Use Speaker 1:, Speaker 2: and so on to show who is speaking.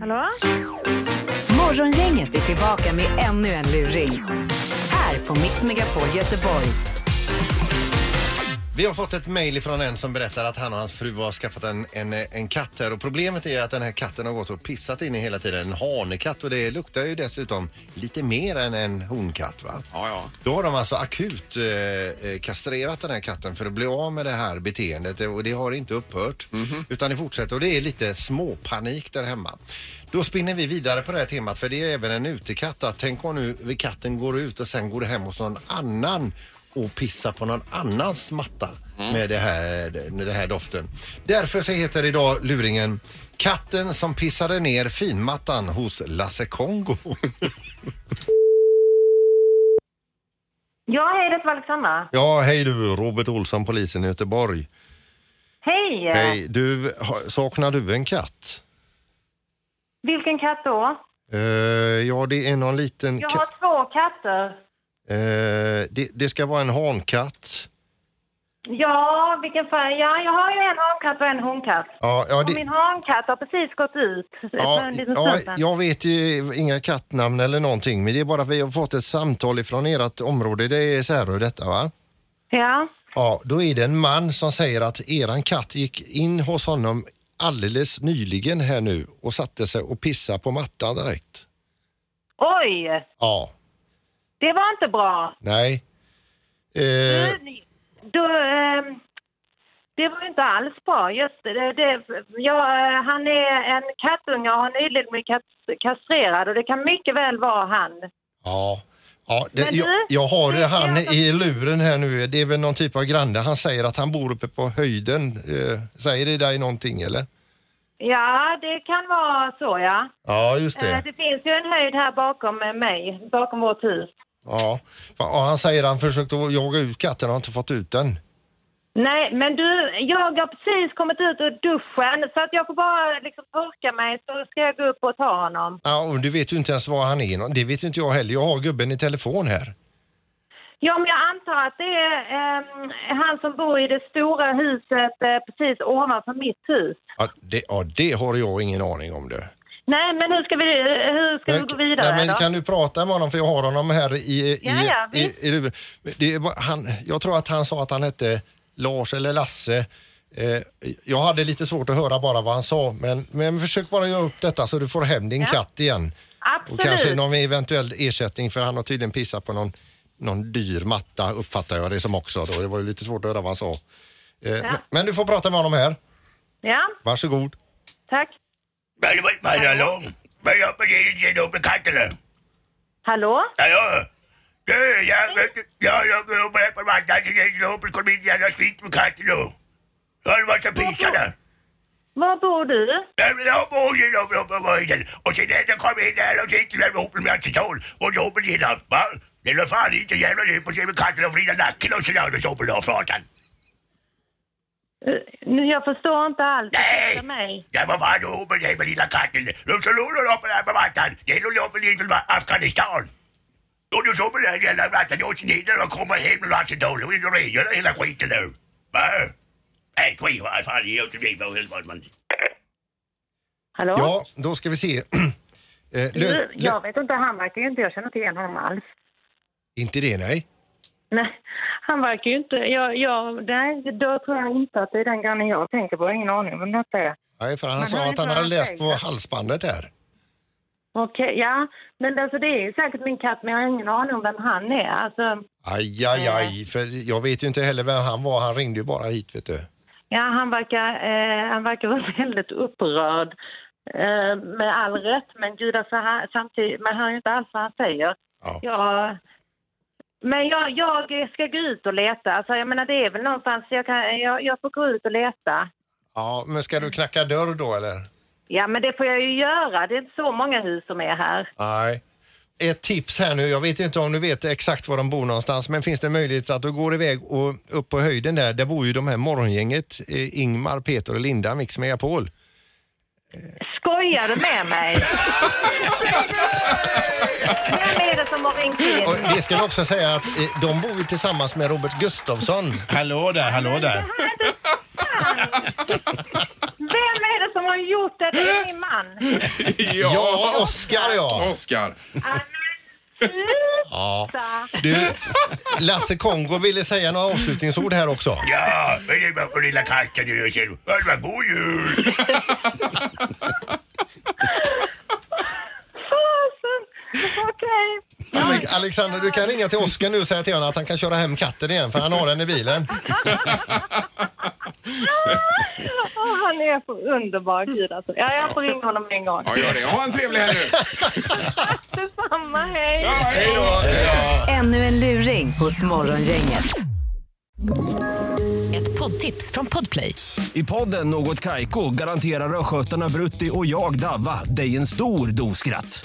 Speaker 1: Hallå?
Speaker 2: Morgongänget är tillbaka med ännu en luring. Här på Mix Megapol Göteborg.
Speaker 3: Vi har fått ett mejl från en som berättar att han och hans fru har skaffat en, en, en katt här och problemet är att den här katten har gått och pissat in i hela tiden. En hanekatt och det luktar ju dessutom lite mer än en honkatt va?
Speaker 4: Ja, ja.
Speaker 3: Då har de alltså akut eh, eh, kastrerat den här katten för att bli av med det här beteendet eh, och det har inte upphört utan det fortsätter och det är lite småpanik där hemma. Då spinner vi vidare på det här temat för det är även en utekatt att tänk om nu katten går ut och sen går hem hos någon annan och pissar på någon annans matta med, det här, med det här doften. Därför så heter idag luringen Katten som pissade ner finmattan hos Lasse Kongo.
Speaker 1: Ja, hej, det var Alexandra.
Speaker 3: Ja, hej du, Robert Olsson, polisen i Göteborg.
Speaker 1: Hej!
Speaker 3: Hej, du, ha- saknar du en katt?
Speaker 1: Vilken katt då?
Speaker 3: Eh, ja, det är någon liten
Speaker 1: Jag
Speaker 3: katt.
Speaker 1: har två katter.
Speaker 3: Eh, det, det ska vara en hankatt.
Speaker 1: Ja, vilken färg? Ja, jag har ju en hankatt och en honkatt.
Speaker 3: Ja, ja,
Speaker 1: Och
Speaker 3: det,
Speaker 1: min hankatt har precis gått ut för
Speaker 3: ja,
Speaker 1: en liten
Speaker 3: ja,
Speaker 1: stund sedan.
Speaker 3: jag vet ju inga kattnamn eller någonting, men det är bara att vi har fått ett samtal ifrån ert område. Det är Särö detta, va?
Speaker 1: Ja.
Speaker 3: Ja, då är det en man som säger att eran katt gick in hos honom alldeles nyligen här nu och satte sig och pissade på mattan direkt.
Speaker 1: Oj,
Speaker 3: Ja,
Speaker 1: det var inte bra.
Speaker 3: nej. Eh,
Speaker 1: Då, ehm, det var ju inte alls bra. Just det, det, ja, eh, han är en kattunge och har nyligen blivit kat- kastrerad och det kan mycket väl vara han.
Speaker 3: ja. Ja, det,
Speaker 1: Men du,
Speaker 3: jag, jag har
Speaker 1: det är
Speaker 3: han
Speaker 1: alltså-
Speaker 3: i luren här nu. Det är väl någon typ av granne. Han säger att han bor uppe på höjden. Eh, säger det dig någonting eller?
Speaker 1: Ja, det kan vara så ja.
Speaker 3: Ja, just
Speaker 1: Eh,
Speaker 3: det.
Speaker 1: Det finns ju en höjd här bakom eh, mig, bakom vårt hus.
Speaker 3: Ja. Fan, ja, han säger att han försökte att jaga ut katten och har inte fått ut den.
Speaker 1: Nej, men du, jag har precis kommit ut ur duschen så att jag får bara liksom torka mig så ska jag gå upp och ta honom.
Speaker 3: Ja, och du vet ju inte ens var han är. nå- Det vet inte jag heller. Jag har gubben i telefon här.
Speaker 1: Ja, men jag antar att det är ehm, han som bor i det stora huset eh, precis ovanför mitt hus.
Speaker 3: Ja, det, ja, det har jag ingen aning om du.
Speaker 1: Nej, men hur ska vi, hur ska vi gå vidare
Speaker 3: nej, men
Speaker 1: då?
Speaker 3: kan du prata med honom för jag har honom här i... i,
Speaker 1: Ja, ja,
Speaker 3: i, i, i det är bara, han, jag tror att han sa att han hette Lars eller Lasse. Eh, jag hade lite svårt att höra bara vad han sa men, men försök bara göra upp detta så du får hem din katt igen.
Speaker 1: Absolut.
Speaker 3: Och kanske någon eventuell ersättning för han har tydligen pissat på någon, någon dyr matta uppfattar jag det som också då. Det var ju lite svårt att höra vad han sa. Eh, men, men du får prata med honom här.
Speaker 1: Ja,
Speaker 3: Varsågod.
Speaker 1: tack.
Speaker 5: Men det var inte mig lång. Men jag begriper inte upp med katterna.
Speaker 1: Hallå?
Speaker 5: Hallå? Du, jag vet inte. Jag jobbar uppe här på mattan så det är så uppe kom in jävla skit med katterna. Jag har varit och pissat där.
Speaker 1: Var bor du?
Speaker 5: Nej, men jag bor ju uppe uppe på höjden. Och sen när jag kom in där och sitter där ihop med Attitol och så uppe till honom. Va? Det låg fan inte jävla djup och så med katterna och vrider nacken och sådär och så uppe då flatan.
Speaker 1: Eh, Nu, jag förstår inte alls.
Speaker 5: Nej!
Speaker 1: Ursäkta Mig.
Speaker 5: Jag var fan uppe där med lilla katten. De som låg uppe där på mattan, det låg uppe lite från Afghanistan. Och du såg på den jävla mattan, jag åkte ner där och kom hem med Lasse Dole. Och då rengör hela skiten nu. Va? Nej, skit vad fan, jag driver och helvete. man.
Speaker 1: Hallå?
Speaker 3: Ja, då ska vi se. Eh, lö,
Speaker 1: Du,
Speaker 3: lö,
Speaker 1: jag vet inte, han verkar ju inte, jag känner inte igen honom alls.
Speaker 3: inte det nej.
Speaker 1: Nej, han verkar ju inte, jag, jag, nej, då tror jag inte att det är den grannen jag tänker på, jag har ingen aning om vem detta är.
Speaker 3: Nej, för han
Speaker 1: Man
Speaker 3: sa
Speaker 1: hör
Speaker 3: att
Speaker 1: inte
Speaker 3: han
Speaker 1: vad
Speaker 3: hade
Speaker 1: han
Speaker 3: läst
Speaker 1: säger.
Speaker 3: på halsbandet här.
Speaker 1: Okej, ja, men alltså det är ju säkert min katt, men jag har ingen aning om vem han är. Alltså,
Speaker 3: Aj, aj, aj, för jag vet ju inte heller vem han var. Han ringde ju bara hit, vet du.
Speaker 1: ja, han verkar, eh, han verkar vara väldigt upprörd. Eh, med all rätt, men gud alltså, han, samtidigt, man hör ju inte alls vad han säger.
Speaker 3: Ja.
Speaker 1: Ja, men jag, jag ska gå ut och leta, alltså jag menar det är väl någonstans, jag, kan, jag, jag får gå ut och leta.
Speaker 3: Ja, men ska du knacka dörr då, eller?
Speaker 1: Ja, men det får jag ju göra. Det är inte så många hus som är här.
Speaker 3: Nej. Ett tips här nu, jag vet inte om du vet exakt var de bor någonstans, men finns det möjlighet att du går iväg och upp på höjden där, där bor ju de här morgongänget, eh, Ingmar, Peter och Linda, Mix Megapol.
Speaker 1: Skojar du med mig? Vem är det som har ringt in?
Speaker 3: Och det ska jag också säga att eh, de bor ju tillsammans med Robert Gustafsson.
Speaker 4: Hallå där, hallå där.
Speaker 1: Han är inte- man! Vem är det som har gjort det? Det är min man.
Speaker 3: Ja, Oscar ja.
Speaker 4: Oscar.
Speaker 1: Ah, men Sluta!
Speaker 3: Du, Lasse Kongo ville säga några avslutningsord här också.
Speaker 5: Ja, men det var på lilla katten och jag känner, "Ja, det var god jul!
Speaker 1: Fasen! Okej.
Speaker 3: Ale- Alexander, du kan ringa till Oscar nu och säga till honom att han kan köra hem katten igen för han har den i bilen.
Speaker 1: Åh, Ah, han är så underbar, gud alltså. Ja, jag får ringa honom en gång.
Speaker 4: Ja, gör det. Ha en trevlig helg nu.
Speaker 1: Detsamma, hej!
Speaker 4: Ja, hej då.
Speaker 2: Ännu en luring hos Morgongänget. Ett poddtips från Podplay.
Speaker 6: I podden Något Kaiko garanterar östgötarna Brutti och jag, Davva, dig en stor dos skratt.